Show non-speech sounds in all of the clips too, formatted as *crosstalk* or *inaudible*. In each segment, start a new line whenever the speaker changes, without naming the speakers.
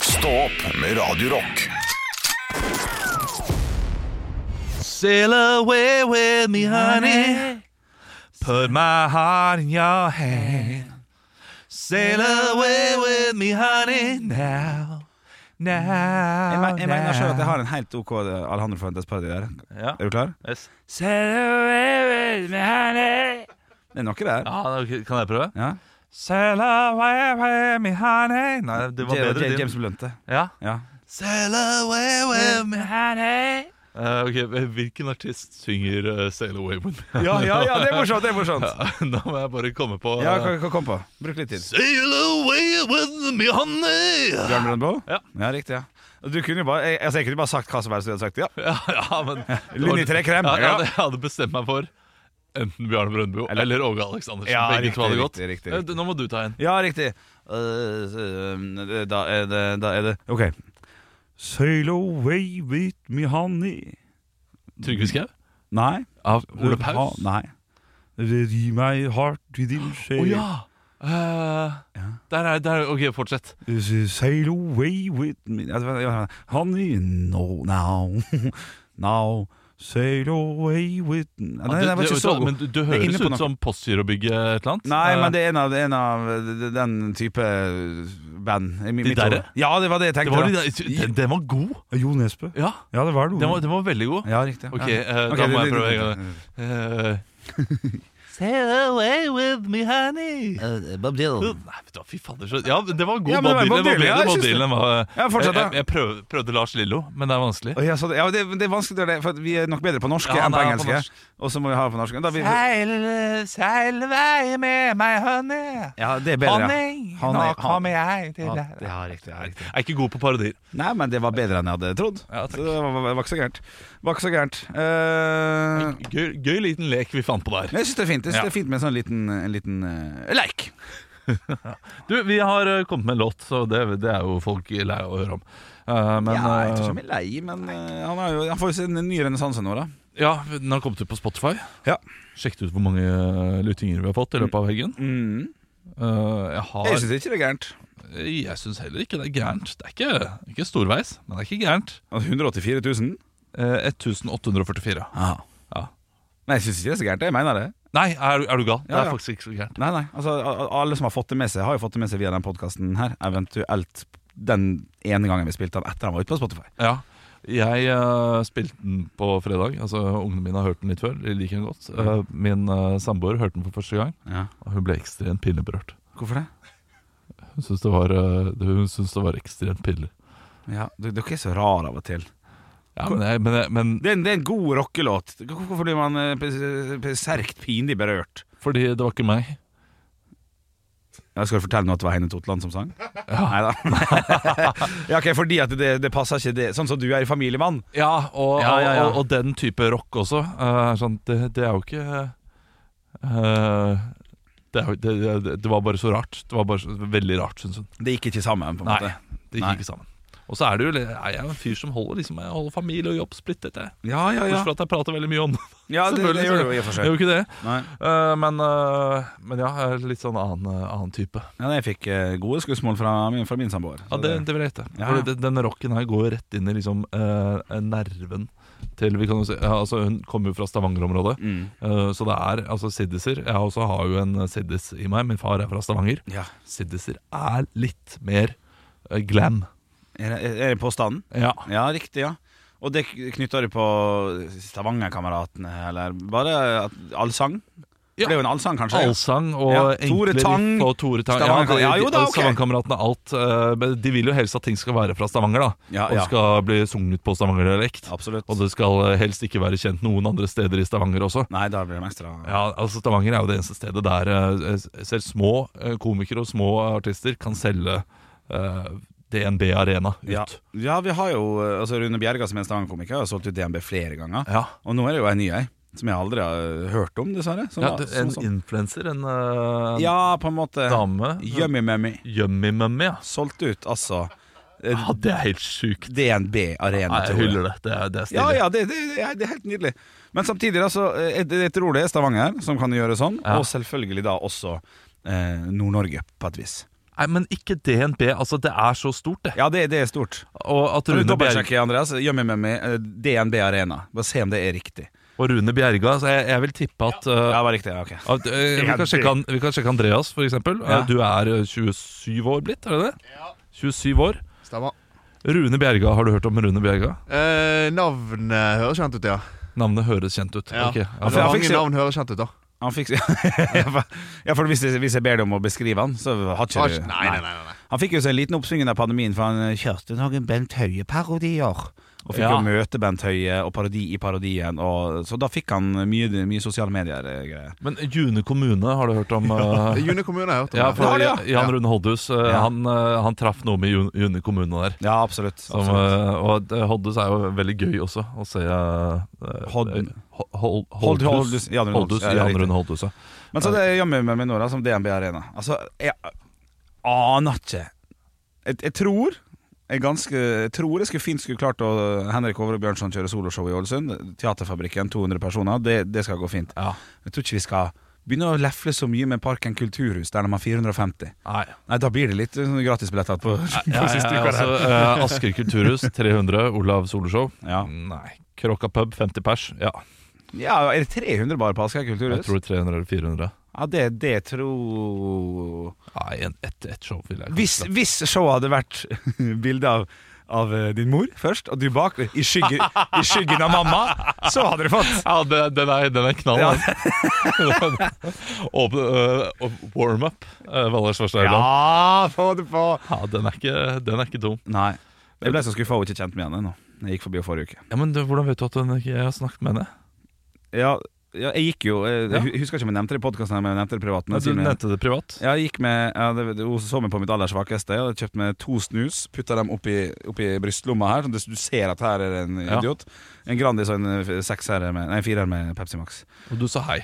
Stå opp med Radio Rock.
Sail away with me, honey. Put my heart in your hand. Sail away with me, honey, now. Now,
Jeg, men, jeg mener selv at jeg har en helt OK eh, Alejandro Fuentes parodi der.
Ja.
Er du klar?
Yes.
Sail away with me, honey. Det er noe der.
Ja, da- kan jeg prøve?
Ja.
Sail away with me, honey. Nei, det var
J-
bedre
J-
din.
James Blunte.
Ja.
Ja.
Sail away with me, honey. Eh, ok, Hvilken artist synger eh, 'Sail Away With Me'?
Ja, ja, ja, det er morsomt! det er
*laughs*
morsomt
Ja, da må jeg bare komme på
*laughs* Ja,
eh,
hva- hva kom på? Bruk litt tid.
Sail away with me, honey.
Bjørn Brøndbo?
Ja.
riktig. ja Du kunne jo bare jeg, altså, jeg kunne jo bare sagt hva som helst du hadde sagt. Ja.
*laughs* Ja, ja, men det var-
Linjetrekrem.
Ja,
Ja.
ja, det- jeg hadde bestemt meg for enten Bjarne Brøndbo eller,
Eller-
Åge Aleksandersen.
Ja,
Begge
riktig,
to hadde gått.
riktig, riktig,
Eh,
riktig.
du- Nå må du ta en.
Ja, riktig. Øh, øh, da er det Da er det OK. Sail away with me, honey.
Trygve Skau?
Nei.
Av Ole Paus?
Ha- Nei. Ri meg hardt i din sjel.
Å ja! Eh, der er, der, er- ok, fortsett.
Sail away with me Ja, det var- ja, Honey, no, now, *laughs* now Sail away with me Nei,
Ja, du,
det var
du-
ikke så
men du, du
Det er
høres
inne på
ut
noe.
som Postgirobygget et eller annet.
Nei,
Eh,
men det er en av, en av den type band i mi-
De
mitt
derre?
hode. Ja, det var det jeg
Eh, det
tenkte
var,
da.
litt- den, den var god!
Jo Nesbø
Ja,
Ja, det var det
den var, den var veldig god.
Ja, riktig
Ok,
ja.
eh,
Ok,
da må
det-
jeg prøve
det-
en gang.
*laughs*
Eh, Sail away with me, honey.
Bob Dylan.
Nei, vet du hva, fy fader så Ja, men det var god
Ja, men det
Bob
var
Dylan.
Bob
det var bedre
Dylan, ja, jeg
Bob
synes det.
Dylan var-
Ja, fortsett, da.
Jeg, jeg, jeg prøv, prøvde Lars Lillo, men det er vanskelig.
Å, ja, så det, ja, det, det er vanskelig å gjøre det For at vi er nok bedre på norsk
Ja,
enn på
nei, på
engelsk
norsk.
Og så må vi ha det på norsk da, vi,
Seil, seil vei med meg, honey.
Ja, det er bedre ja. Honey, hon-
jeg til
Ja, det- ja, riktig, ja, riktig
Jeg er ikke god på parodier.
Nei, men det var bedre enn jeg hadde trodd
Ja, takk.
Så det var, var, var ikke så gærent Var ikke så gærent Eh,
Gøy, gøy liten lek vi fant på der.
Men jeg synes det er fint Jeg synes
Ja.
det er fint med en sånn liten, en liten eh, leik
Du, vi har eh, kommet med en låt, så det, det er jo folk lei av å høre om. Eh, men
Ja, jeg tror ikke
eh,
han er lei Men eh, han, har jo, han får jo sin nye renessanse nå da
ja, den har kommet ut på Spotify.
Ja.
Sjekket ut hvor mange eh, lyttinger vi har fått i løpet av helgen.
mm.
Eh, jeg har
Jeg synes ikke det er gærent
Eh, Jeg syns heller ikke det er gærent. Det er ikke, ikke storveis, men det er ikke gærent.
Altså, 184 000
Eh, 1844. Ja.
Nei, jeg synes ikke det er så gærent Jeg mener det
Nei, er, du- er du gal? Det
Ja,
er
ja.
faktisk ikke så gærent.
Nei, nei, altså a- a- alle som har fått det med seg Har jo fått det med seg via den podcasten her Eventuelt den ene gangen vi spilte den Etter han var ute på Spotify
Ja. Jeg eh, spilte den på fredag. Altså, Ungene mine har hørt den litt før. De liker den godt. Eh, min eh, samboer hørte den for første gang, og hun ble ekstremt pinneberørt.
Hvorfor det?
Hun syntes det, var, eh, hun syntes det var ekstremt pinlig.
Ja, du- dere er så rar av og til
Ja, men, jeg, men, jeg, men
Det er en, det er en god rockelåt Hvor- Hvorfor blir man eh, p- p- sterkt pinlig berørt?
fordi det var ikke meg.
Ja, skal du fortelle nå at det var Heine Totland som sang? Neida *laughs* Ja, ok, fordi at det, det passer ikke det Sånn som du er i familiemann
Ja, og,
Ja, ja, ja.
og, og den type rock også. eh, er sånn, det, det er jo ikke eh, det, er jo- det, det, det var bare så rart. Det var bare så, veldig rart, syns hun.
Det gikk ikke sammen på en
Nei,
måte
det gikk
Nei.
ikke sammen. Og så er det jo, jeg er jo en fyr som holder, liksom, jeg holder familie og jobb splittet. Jeg.
Ja, ja, ja
Bortsett fra at jeg prater veldig mye om det.
Ja, det, det
Selvfølgelig,
gjør du jo i og
*laughs*
for
Jeg
seg
gjør jo ikke det.
Nei
Eh, men, eh, men ja, jeg er litt sånn annen, eh, annen type.
Ja, jeg fikk eh, gode skussmål fra min, fra min samboer
Ja,
Så
det, det vil jeg hete.
Ja.
Fordi den- Denne rocken her går rett inn i liksom, eh, nerven til vi kan jo si, ja, altså, Hun kommer jo fra Stavanger-området.
mm.
Eh, Så det er altså siddiser. Jeg også har jo en eh, siddis i meg. Min far er fra Stavanger.
Ja
Siddiser er litt mer eh, glam.
Er det, er det påstanden?
Ja.
Ja, riktig, ja. Og det knytter du på Stavangerkameratene, eller bare at allsang?
Ja.
For det er jo en allsang, kanskje?
Allsang og
Ja,
enkle
Tore Tang,
riff og Tore Tang.
Stavanger-
de-
ja, jo da,
de-
ok.
Stavangerkameratene, alt. eh, men De vil jo helst at ting skal være fra Stavanger, da.
Ja,
Og
ja.
skal bli sunget på stavangerdialekt.
Absolutt.
Og det skal eh, helst ikke være kjent noen andre steder i Stavanger også.
Nei, da blir det en ekstra
Ja, altså Stavanger er jo det eneste stedet der eh, s- selv små eh, komikere og små artister kan selge eh, DNB Arena ut.
Ja. Ja, vi har jo eh, altså Rune Bjerga, som er en Stavanger-komiker, har solgt ut DNB flere ganger.
Ja.
Og nå er det jo ei ny ei, som jeg aldri har hørt om, dessverre. Som,
Ja, du,
som-
en
som-
influenser, en eh,
ja, på en måte.
dame.
Yummy Mummy.
Yummy Mummy, ja.
Solgt ut, altså. eh,
ja. Det er helt sjukt.
DNB Arena
Nei,
til
jeg
henne.
hyller det. Det er, det er stilig.
Ja, ja, det, det, det er- det er helt nydelig. Men samtidig, da, så eh, jeg, jeg tror det er Stavanger som kan gjøre sånn,
Ja.
og selvfølgelig da også eh, Nord-Norge, på et vis.
Nei, men ikke DNB. Altså, det er så stort, det.
Ja, det, det er stort.
Og at
Kan du
Rune, Bjerg
dobbeltsjekke, Andreas? Gjør meg med meg eh, DNB Arena. Bare se om det er riktig.
og Rune Bjerga så jeg, jeg vil tippe at
Ja,
uh,
det var riktig. Ja, ok.
at, uh, vi, kan sjekke, an- vi kan sjekke Andreas, for eksempel.
Ja.
Uh, Du er uh, 27 år blitt, er det det? 27 år.
Stemmer.
Rune Bjerga, har du hørt om Rune Bjerga?
Eh, navnet høres kjent ut, ja.
Navnet høres kjent ut.
Ja.
Ok,
Men
for jeg fikk
mange
se-
navn høres kjent ut, da.
Han fikk *laughs* Ja, for hvis jeg, hvis jeg ber deg om å beskrive han, så har ikke
Nei,
du
nei, nei,
*laughs*
nei.
Han fikk jo seg en liten oppsving under pandemien, for han eh, kjørte noen Bent Høie-parodier. Og fikk
Ja.
jo møte Bent Høie og parodi i parodien, og, så da fikk han mye, mye sosiale eh, medier-greier.
Men June kommune, har du hørt om?
*laughs*
uh,
June kommune har jeg hørt om.
ja,
det.
for
Ja, det,
Jan
Ja.
Rune Holdhus uh,
Ja.
han, uh, han traff noe med June, June kommune der.
Ja, absolutt.
Som,
absolutt.
eh, og eh, Hoddus er jo veldig gøy også å se eh,
Hod-
eh, Ho- Hol- Holdhus
Hold- Holdhus, Jan Rune
Holdhus,
Holdhus. Ja, det er
Jan
riktig.
Rune Holdhus. ja.
Men så det gjør vi med meg nå, da, som DNB Arena. Altså, jeg aner ikke. Jeg, jeg tror jeg, ganske, jeg tror jeg skulle fint skulle klart å Henrik Over og Bjørnson kjøre soloshow i Ålesund. Teaterfabrikken, 200 personer. Det, det skal gå fint.
Ja.
Jeg tror ikke vi skal begynne å lefle så mye med Parken kulturhus, der de har 450.
Nei.
Nei, da blir det litt sånn gratisbilletter på, *laughs* på
Ja,
*laughs* siste
ja,
uka.
altså,
der.
eh, Asker kulturhus 300, Olav Soloshow.
Ja.
Nei. Kråka pub 50 pers. Ja,
ja, er det 300 bare på Asker
jeg
kulturhus?
tror 300 eller 400.
Ja, det, det tror
Nei, en, et, et show vil jeg kanskje
Hvis,
si.
hvis showet hadde vært *laughs* bilde av, av eh, din mor først, og du bak, i, skygge, i skyggen av mamma, så hadde du fått.
Ja, det, den, er, den er knall,
Ja.
den. *laughs* Åpne- eh, Warm-up, uh, Valars Svarstad Haugland. Ah,
Ja, få det på!
Ja, den er, ikke, den er ikke dum.
Nei. Jeg ble så skuffa og ikke kjent med henne ennå. Jeg gikk forbi henne forrige uke.
Ja, men du, Hvordan vet du at hun ikke jeg har snakket med henne?
Ja, ja, jeg gikk jo Jeg,
Ja.
jeg husker ikke om jeg nevnte det i podkasten, men jeg nevnte det privat. Men
Du
siden jeg-
nevnte det privat.
Ja, jeg gikk med ja, det, det, Hun så meg på mitt aller svakeste. Jeg hadde kjøpt meg to snus, putta dem oppi, oppi brystlomma her. Sånn at du ser at her er en
Ja.
idiot. En Grandis og en eh, sekser med, nei, en firer med Pepsi Max.
Og du sa hei.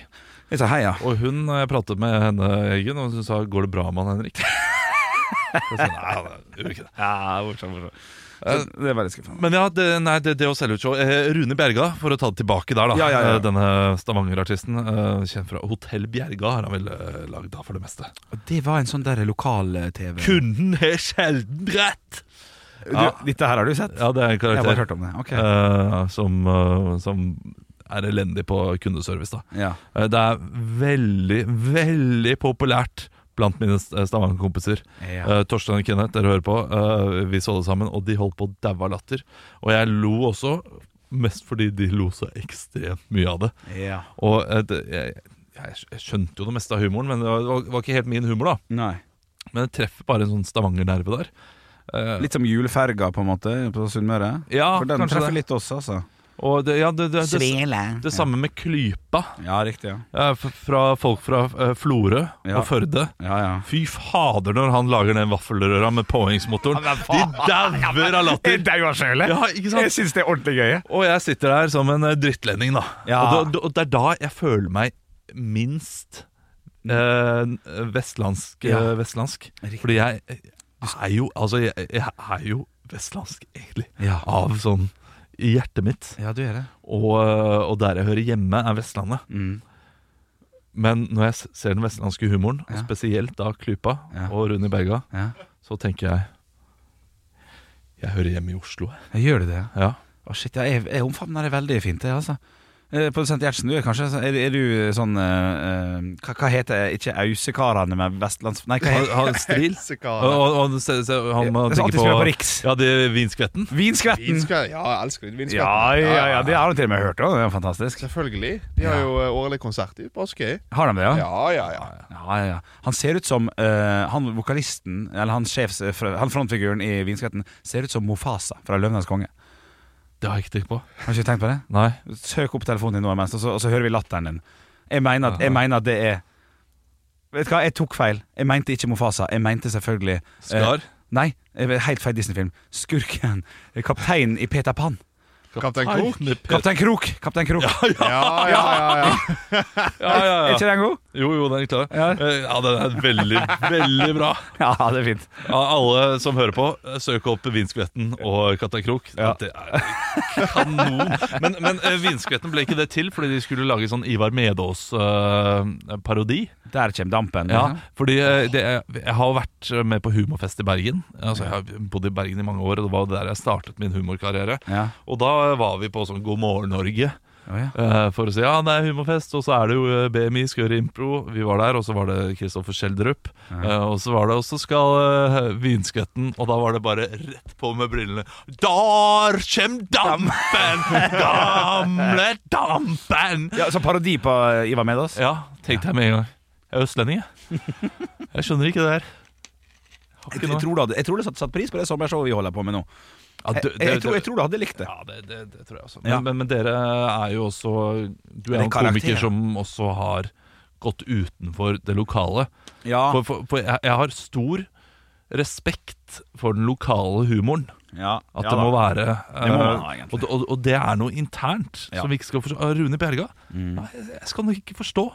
Jeg sa hei, ja.
Og hun, jeg pratet med henne, Eggen, og hun sa 'går det bra med han
*laughs*
Henrik'? Jeg sa, nei, han gjør ikke det.
Så Det er veldig skuffende.
Men ja, det, nei, det, det å selge ut show eh, Rune Bjerga, for å ta det tilbake der, da.
Ja, ja, ja.
eh, Denne Stavanger-artisten. Eh, kjent fra Hotell Bjerga har han vel eh, lagd, da, for det meste.
Det var en sånn der lokal-TV.
Kunden har sjelden rett! Ja.
Dette her har du sett?
Ja, det er en
Jeg har bare
karakter
hørt om det. Ok.
eh, som, eh, som er elendig på kundeservice, da.
Ja.
Eh, Det er veldig, veldig populært blant mine st- Stavanger-kompiser.
Ja.
Eh, Torstein og Kenneth, dere hører på. eh, vi så det sammen, og de holdt på å daue av latter. Og jeg lo også, mest fordi de lo så ekstremt mye av det.
ja.
Og eh, det, jeg, jeg skj- jeg skjønte jo det meste av humoren, men det var, det var- var ikke helt min humor, da.
Nei.
Men det treffer bare en sånn Stavanger-nerve der. Eh,
Litt som juleferga, på en måte, på Sunnmøre.
ja,
For den
kanskje
treffer
det.
litt oss, altså.
Og det, ja, det, det, det, det samme med Klypa,
Ja, riktig. Ja,
eh, f- fra folk fra eh, Florø
Ja.
og Førde.
ja. ja.
Fy fader når han lager den vaffelrøra med påhengsmotoren. De dauer av
*laughs*
latter.
daua sjøl,
Ja, ikke sant?
syns det er ordentlig gøy.
Og jeg sitter der som en eh, drittlending, da.
Ja.
Og, da, da. og det er da jeg føler meg minst eh, vestlandsk, eh,
Ja.
vestlandsk.
Riktig.
Fordi jeg er jo Altså, jeg, jeg er jo vestlandsk, egentlig.
Ja.
Av sånn i hjertet mitt.
Ja, du gjør det.
Og, eh, og der jeg hører hjemme, er Vestlandet.
Mm.
Men når jeg s- ser den vestlandske humoren, og
Ja.
spesielt da Klypa
Ja.
og Rune Berga,
Ja.
så tenker jeg Jeg hører hjemme i Oslo, jeg.
Jeg gjør det det?
Ja.
Å shit, ja, jeg, jeg omfavner det veldig fint, det, altså. Eh, Produsent Gjertsen, du er kanskje så- Er, er du sånn eh, eh, hva, hva heter Ikke Ausekarene med vestlands... Nei, hva
Han,
heter
han stril.
*laughs*
Og,
Heksekar.
og, og se, se, han må
Det er
tenke
alltid som er på
på
Riks.
Ja, det er vinskvetten.
Vinskvetten!
Vinskveld. Ja, jeg elsker vinskveld.
Ja, ja, ja, det har du til og med hørt om. Det er fantastisk.
Selvfølgelig. De har jo eh, årlig konsert i Askøy.
Har de det, ja?
Ja, ja, ja.
Ja, ja, ja. Han ser ut som eh, han vokalisten, eller han, sjefs, fr- han frontfiguren i Vinskvetten, ser ut som Mofasa fra Løvenes konge.
Det har jeg ikke tenkt på.
Har du ikke tenkt på det?
Nei.
Søk opp telefonen din nå imens, og så, og så hører vi latteren din. Jeg mener, at, jeg mener at det er Vet du hva, jeg tok feil. Jeg mente ikke Mofasa. Jeg mente selvfølgelig eh,
Skar.
Nei, eh, helt feil Disney-film. Skurken. eh, Kapteinen i Peter Pan.
Kaptein Krok?
Kaptein Krok! Kaptein Krok.
Ja, ja, ja. ja.
Ja, ja, ja.
Er ikke den god?
Jo, jo, den klarer
Ja.
jeg. Eh, Ja, den er veldig, veldig bra.
Ja, *laughs* det er fint.
Ja, alle som hører på, søk opp Vinskvetten og Kaptein Krok.
Ja.
Det er kanon. Men, men eh, Vinskvetten ble ikke det til fordi de skulle lage sånn Ivar eh, Medås-parodi.
Der kommer dampen.
Ja, fordi eh, det, er- Jeg har vært med på humorfest i Bergen. Altså, jeg har bodd i Bergen i mange år, og det var der jeg startet min humorkarriere.
Ja.
Og da var vi på sånn God morgen Norge.
Å, ja.
eh, For å si ja, det er humorfest, og så er det jo eh, BMI Skøre Impro. Vi var der, og så var det Kristoffer Schjelderup. eh, Og så var det Og så skal eh, Vinskvetten, og da var det bare rett på med brillene. Der kjem dampen! Gamle dampen!
Ja, så parodi på eh, Ivar Medås?
Ja, tenkte jeg med en gang. Jeg er østlending, jeg.
*laughs*
Jeg skjønner ikke det der. Har
Jeg,
ikke noe-
jeg, tror du hadde, jeg tror du hadde satt pris på det sommershowet vi holder på med nå.
Ja,
Jeg,
det-
jeg,
det-
tror, jeg tror du hadde likt det.
Ja, det, det, det tror jeg også. Men,
Ja.
men, men dere er jo også Du
Det
er
er
jo en
karakter.
komiker som også har gått utenfor det lokale.
Ja.
For, for, for jeg, jeg har stor respekt for den lokale humoren.
ja.
At
ja,
det må
da.
være
Det må
eh,
man ha, egentlig.
og, og, og det er noe internt
Ja. Mm.
som vi ikke skal forstå. Ah, Rune Bjerga Nei, Jeg skal nok ikke forstå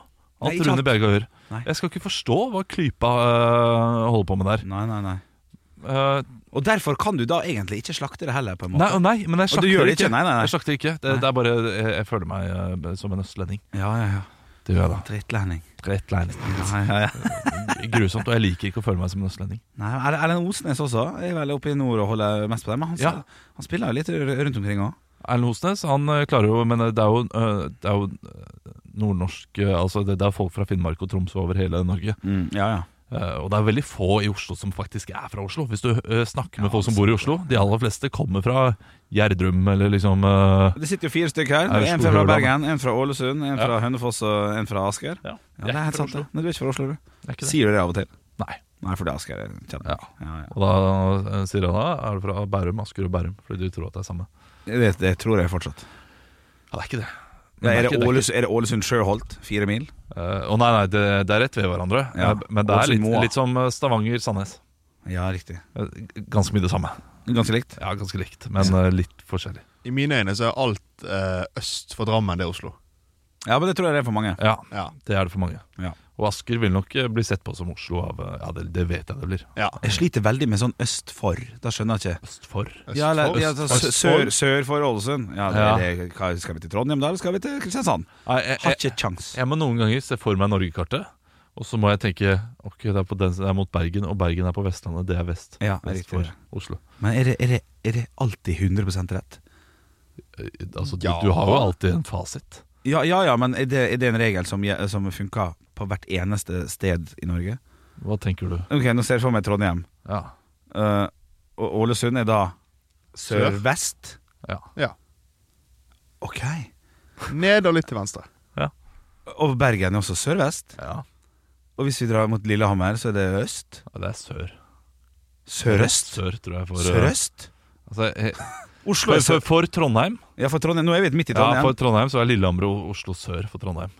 alt
Nei, ikke sant.
Rune Bjerga gjør.
Nei.
Jeg skal ikke forstå hva klypa eh, holder på med der.
Nei, nei, nei.
Eh,
Og derfor kan du da egentlig ikke slakte det heller, på en
nei,
måte.
og nei, men jeg
Og du
slakter
gjør
det
det
ikke.
ikke? Nei, nei, nei.
Jeg slakter ikke. Det, det er bare jeg, jeg føler meg eh, som en østlending.
Ja, ja, ja.
Det gjør jeg da. *laughs*
Drittlending.
Rett leilighet.
Ja, ja, ja.
Grusomt, og jeg liker ikke å føle meg som en østlending.
Nei, Erlend Erlend Osnes også er vel oppe i nord og holder mest på dem. Men han,
Ja.
han spiller jo litt r- rundt omkring òg.
Erlend Hosnes han eh, klarer jo Men det er jo, eh, det er jo eh, nordnorsk eh, Altså det, det er folk fra Finnmark og Troms over hele Norge.
Ja, ja.
Eh, Og det er veldig få i Oslo som faktisk er fra Oslo. Hvis du eh, snakker med folk som bor i Oslo, de aller fleste kommer fra Gjerdrum eller liksom eh,
Det sitter jo fire stykker her.
Er det
En
Stor
fra
Hurdal, da?
Bergen, en fra Ålesund, en fra Hønefoss og en fra Asker.
Ja,
Ja, det er helt sant. det. Nei, du er ikke fra Oslo, du.
Er ikke det?
Sier du det av og til?
Nei.
Nei, for det er Asker. er Kjent.
Ja.
Ja, ja.
Og da eh, sier han da er du fra Bærum, Asker og Bærum, fordi du tror at det er samme.
Det, det tror jeg fortsatt.
Ja, det er ikke det. Men
Er
det
det,
ikke- det er ikke-
Ålesund, er det Ålesund Sjøholt? Fire mil?
Eh, Å nei, nei, det, det er rett ved hverandre.
Ja.
Eh, Men det er
Ålesund
litt,
Moa.
litt som eh, Stavanger-Sandnes.
Ja, riktig.
Eh, Ganske mye det samme.
Ganske likt.
Ja, ganske likt, men eh, litt forskjellig.
I mine øyne så er alt eh, øst for Drammen det er Oslo.
Ja, men det tror jeg det er for mange.
Ja,
Ja.
det er det for mange.
Ja.
Og Asker vil nok eh, bli sett på som Oslo av eh, Ja, det, det vet jeg det blir.
Ja.
Jeg sliter veldig med sånn øst for. Da skjønner jeg ikke.
Øst for.
Øst
Ja, eller,
for.
ja, altså, så-
Øst
sør,
for.
sør for Ålesund. Ja,
Ja. Eh,
det, det, hva- skal vi til Trondheim da, eller skal vi til Kristiansand?
Nei, jeg,
Har
jeg,
ikke kjangs.
jeg må noen ganger se for meg Norgekartet, og så må jeg tenke Ok, det er, på den, det er mot Bergen, og Bergen er på Vestlandet. Det er vest.
Ja, det er
vest
riktig.
for Oslo.
Men er det, er det, er det alltid 100 rett?
Eh, Altså, du,
Ja.
du har jo alltid en fasit.
Ja, ja, ja men er det, er det en regel som, gje- som funker på hvert eneste sted i Norge?
Hva tenker du?
Ok, Nå ser jeg for meg Trondheim.
Ja.
Eh, og Ålesund er da sørvest?
ja.
Ja.
Ok.
Ned og litt til venstre.
Og Bergen er også sørvest.
ja.
Og hvis vi drar mot Lillehammer, så er det øst?
Ja, Det er sør.
Sørøst?
Sør, tror jeg. For, eh,
Sørøst?
Altså, eh,
*laughs* Oslo
for,
er sør...
for, for Trondheim
Ja, for Trondheim. Nå er vi midt i
Ja,
Trondheim.
for Trondheim så er Lillehammer og Oslo sør for Trondheim.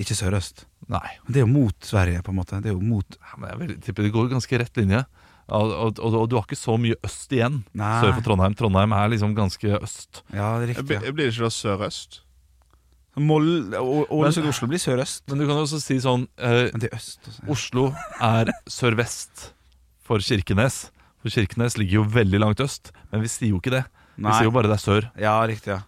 Ikke sørøst.
Nei.
Men Det er jo mot Sverige, på en måte. Det er jo mot
Ja, Men jeg vil tippe det går ganske rett linje. Og, og, og, og du har ikke så mye øst igjen
Nei.
sør for Trondheim. Trondheim er liksom ganske øst.
Ja, det er
Blir
riktig. ja.
blir det ikke da sørøst?
Moll Å- Ålesund
Men-
altså, Oslo blir sørøst.
Men du kan jo også si sånn eh,
Men det er øst. altså.
Oslo er sørvest for Kirkenes. For Kirkenes ligger jo veldig langt øst, men vi sier jo ikke det. Vi
Nei.
sier jo bare det er sør.
Ja, riktig. ja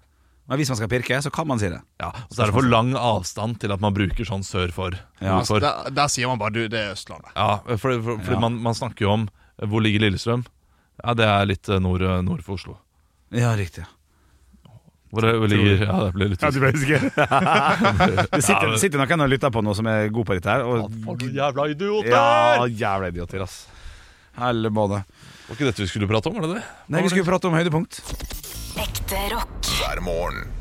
Men hvis man skal pirke, så kan man si det.
Ja, og så er det for lang avstand til at man bruker sånn sør for.
Ja.
for.
Altså, der, der sier man bare du, det er Østlandet.
Ja, for, for, fordi
Ja.
Man, man snakker jo om eh, hvor ligger Lillestrøm. Ja, Det er litt eh, nord, nord for Oslo.
Ja, riktig. ja.
Hvor det, hvor ligger, ja, det ble litt usikkert.
*laughs* Det sitter, sitter noen og lytter på noe som er god på dette her. Og
For noen jævla idioter!
ja, jævla idioter, ass. Helle måne.
Var ikke dette vi skulle prate om? var det det?
Nei, vi skulle prate om høydepunkt.
Ekte rock.
hver morgen.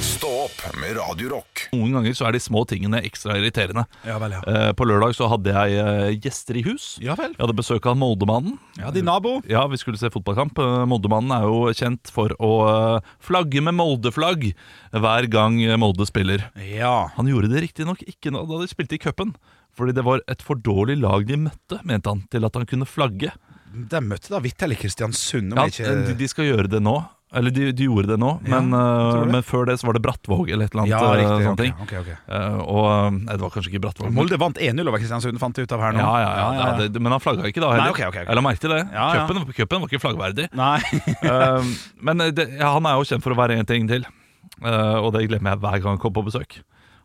Stå opp med Radio Rock.
Noen ganger så er de små tingene ekstra irriterende.
Ja vel, ja.
Eh, på lørdag så hadde jeg eh, gjester i hus.
Ja vel.
Jeg hadde besøk av Moldemannen.
Ja, din nabo.
Ja, vi skulle se fotballkamp. Eh, Moldemannen er jo kjent for å eh, flagge med Molde-flagg hver gang eh, Molde spiller.
Ja.
Han gjorde det riktignok ikke nå- da de spilte i cupen. Fordi det var et for dårlig lag de møtte, mente han, til at han kunne flagge.
eh, De møtte da vitterlig Kristiansund, om
Ja,
jeg
de,
ikke
de skal gjøre det nå, Eller de, de gjorde det nå,
Ja,
men,
tror
eh,
du det?
men før det så var det Brattvåg eller et eller annet.
Ja,
eh,
riktig.
sånne
ok,
ting.
ok, ok.
Eh, og eh, Nei, det var kanskje ikke Brattvåg. men-
Molde vant 1-0 over Kristiansund, fant jeg ut av her nå.
Ja, ja, ja, ja, Det, Men han flagga ikke da heller.
Nei, ok, ok, ok.
Jeg la merke til det.
Ja, ja.
Cupen cupen var ikke flaggverdig.
Nei.
Eh, men det, ja, han er jo kjent for å være en ting til, Eh, og det glemmer jeg hver gang han kommer på besøk.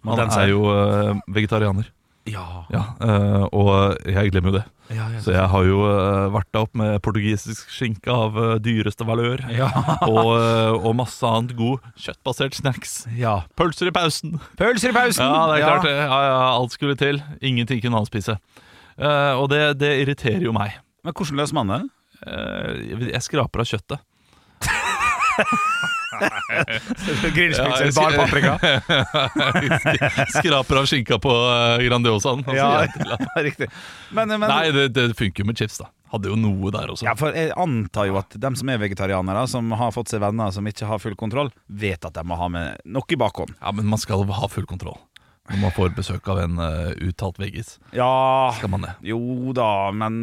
Han
Den ser-
er jo eh, vegetarianer,
Ja.
*laughs* ja, eh, og jeg glemmer jo det.
Ja, ja.
Så jeg har jo eh, vært der opp med portugisisk skinke av eh, dyreste valør,
Ja.
*laughs* og, eh, og masse annet god kjøttbasert snacks.
ja.
Pølser i pausen!
Pølser i pausen!
Ja, det er klart det. Ja, ja, alt skulle til. Ingenting kunne han spise. Eh, og det, det irriterer jo meg.
Men hvordan løser
*laughs*
man det?
Eh, jeg- jeg skraper av kjøttet. *laughs*
Grillspikser,
jeg-
bar paprika.
*laughs* Skraper av skinka på eh, Grandiosaen. og så
Ja,
gir jeg til han.
riktig. Men, men
Nei, det, det funker jo med chips, da. Hadde jo noe der også.
ja, for Jeg antar jo at dem som er vegetarianere, som har fått seg venner som ikke har full kontroll, vet at de må ha med noe i bakhånd.
Ja, Men man skal ha full kontroll når man får besøk av en eh, uttalt veggis.
Ja
Skal man det.
Jo da, men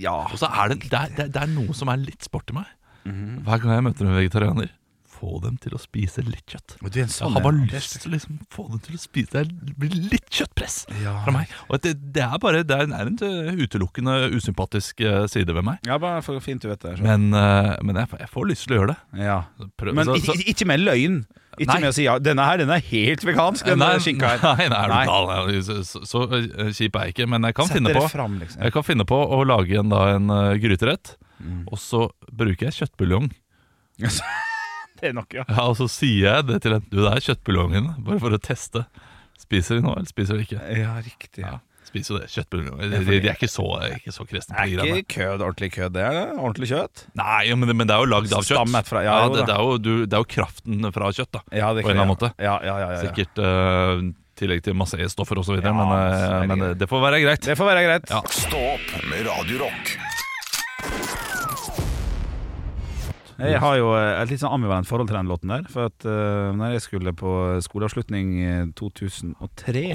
Ja.
Og så er det, det, er, det, er- det er noe som er litt sport i meg.
Mhm.
Hver gang jeg møter en vegetarianer, få dem til å spise litt kjøtt.
Du er en
Jeg har bare lyst til å liksom få dem til å spise Det blir litt kjøttpress
Ja.
fra meg. Og det, det er bare Det er nærmest eh, utelukkende usympatisk eh, side ved meg.
Ja, bare for fint du vet det. så.
Men, eh, men jeg, jeg får lyst til å gjøre det.
Ja.
Prøv-
Men
så-
ikke,
så-
ikke- ikke med løgn. Ikke
Nei.
med å si ja, denne her den er helt vegansk, denne
Nei,
skinka her.
Nei, nei, er du
Nei.
gal? Så, så, så eh, kjip er jeg ikke, men jeg kan,
Sett
finne
dere
på,
Fram, liksom.
jeg kan finne på å lage en, da, en eh, gryterett.
Mm.
Og så bruker jeg kjøttbuljong.
Det er nok, ja.
Ja, og så sier jeg det til en Du, det er kjøttbuljongen, bare for å teste. Spiser de nå, eller spiser de ikke?
Ja, riktig.
Ja, spiser jo det. Kjøttbuljong. De, de, de er ikke så, ikke så kristne på de
Det er
greiene.
ikke kød, ordentlig kød, det er det. Ordentlig kjøtt.
Nei, ja, men, det- men det er jo lagd av kjøtt.
Stammet fra- ja, jo
det,
da.
det, er jo, du, det er jo kraften fra kjøtt, da.
Ja, det er
På en eller annen
kød,
måte.
Ja, ja, ja, ja, ja.
Sikkert eh, i tillegg til masse E-stoffer osv.,
Ja,
videre men, eh,
så er det
men
greit.
det, det får være greit.
Det får være greit.
Ja.
Stå opp med Radio Rock.
Jeg har jo et litt sånn ambivalent forhold til den låten der. For at uh, når jeg skulle på skoleavslutning i 2003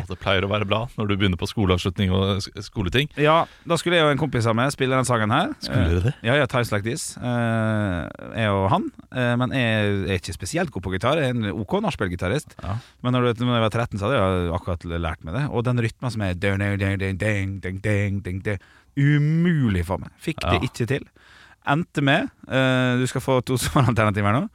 Og det pleier å være bra når du begynner på skoleavslutning og sk- skoleting.
Ja, da skulle jeg og en kompis av meg spille den sangen her.
Skulle dere det?
Ja, ja, Times Like This. eh, jeg og han. eh, men jeg er ikke spesielt god på gitar. Jeg er en OK nachspiel-gitarist.
Ja.
Men når, du, når jeg var 13, så hadde jeg akkurat lært meg det. Og den rytmen som er ding, ding, ding, ding, ding, ding, ding, ding, ding, Umulig for meg. Fikk det
Ja.
ikke til. Endte med eh, Du skal få to *laughs* svaralternativer nå.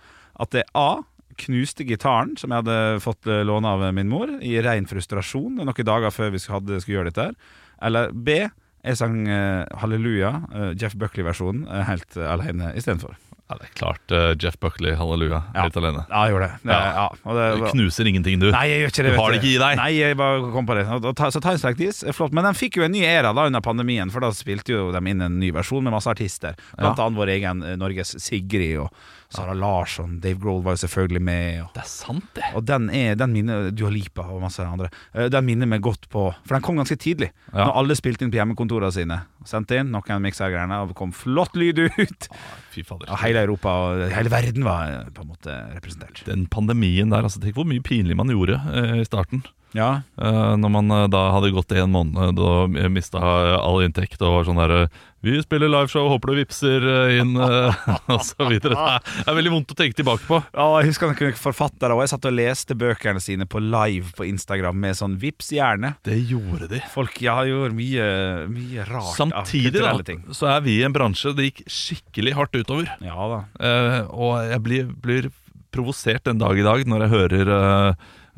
At det er A. Knuste gitaren som jeg hadde fått eh, låne av min mor, i ren frustrasjon noen dager før vi skulle, hadde, skulle gjøre dette. her Eller B. Jeg sang eh, Halleluja, eh, Jeff Buckley-versjonen, eh, helt eh, alene istedenfor.
Ja, det er klart eh, Jeff Buckley, halleluja,
Ja.
helt alene.
Ja, jeg gjorde det. det,
Ja.
ja. og det
Du
var-
knuser ingenting, du.
Nei, jeg gjør ikke det.
Du
vet
har det ikke i deg.
Nei, jeg bare kom på det. Og, og, ta- så Times Like This er Eh, flott. Men den fikk jo en ny æra da under pandemien, for da spilte jo de inn en ny versjon med masse artister. Blant annet vår egen eh, Norges Sigrid og Sara Larsson. Dave Grohl var jo selvfølgelig med. Og,
Det er sant, det.
og den, er, den minner Dua Lipa og masse andre. Eh, Den minner meg godt på For den kom ganske tidlig.
Ja.
Når alle spilte inn på hjemmekontorene sine. Sendte inn noen miksergreiene, og det kom flott lyd ut.
Fy fader.
Og hele Europa og hele verden var eh, på en måte representert.
Den pandemien der, altså tenk hvor mye pinlig man gjorde eh, i starten.
Ja,
Eh, når man eh, da hadde gått en måned og mista all inntekt og var sånn der eh, Vi spiller liveshow, håper du vippser eh, inn, eh, *laughs* og så videre. Det er veldig vondt å tenke tilbake på.
Ja, jeg husker han kunne forfattere også. Jeg satt og leste bøkene sine på live på Instagram med sånn vips hjerne.
Det gjorde de.
Folk ja, gjorde mye, mye rart
Samtidig
av
da,
kulturelle ting.
så er vi i en bransje det gikk skikkelig hardt utover.
Ja da.
Eh, og jeg blir, blir provosert en dag i dag når jeg hører, eh,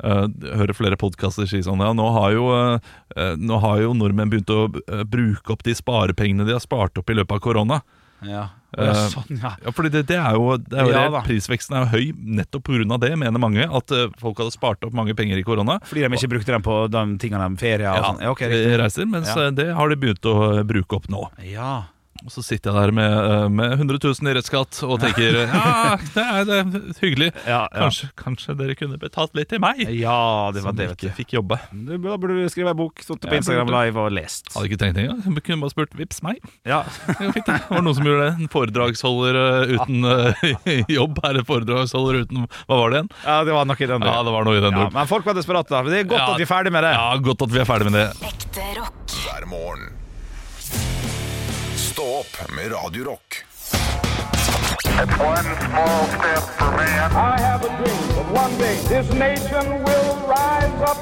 eh, hører flere podkaster si sånn Ja, nå har, jo, eh, eh, nå har jo nordmenn begynt å eh, bruke opp de sparepengene de har spart opp i løpet av korona.
Ja.
Eh,
ja, sånn, ja.
Ja, fordi det, det er jo, det er jo
Ja,
det.
da.
Prisveksten er jo høy nettopp pga. det, mener mange. At eh, folk hadde spart opp mange penger i korona.
Fordi de ikke brukte den på de tingene de ferie og
Ja,
sånn. Ja, ok, riktig.
eh, reiser, mens
Ja.
eh, det har de begynt å eh, bruke opp nå.
Ja.
Og så sitter jeg der med, eh, med 100 000 i rettsskatt og tenker
*laughs*
ja, det er, det er hyggelig.
Ja, ja.
Kanskje, kanskje dere kunne betalt litt til meg,
ja, det var
som
det, vet
ikke
du.
fikk jobbe.
Du, da burde du skrive ei bok, sittet
Ja,
på Instagram
burde-
live og lest.
Hadde ikke trengt det engang. Jeg Kunne bare spurt 'vips meg'. *laughs*
Ja.
Det var fint, det. Det var noen som gjorde det. En foredragsholder eh, uten eh, *laughs* jobb er en foredragsholder uten Hva var det igjen?
ja, det var nok i den
Ja,
duren.
det var noe i den
Ja,
duren.
men folk var desperate. da. Det er godt
Ja.
at vi er ferdig med det.
Ja, godt at vi er ferdig med det.
Ekte rock.
hver morgen. Stå opp med Radio Rock.
It's one small step for man.
I have a dream that one day this nation will rise up.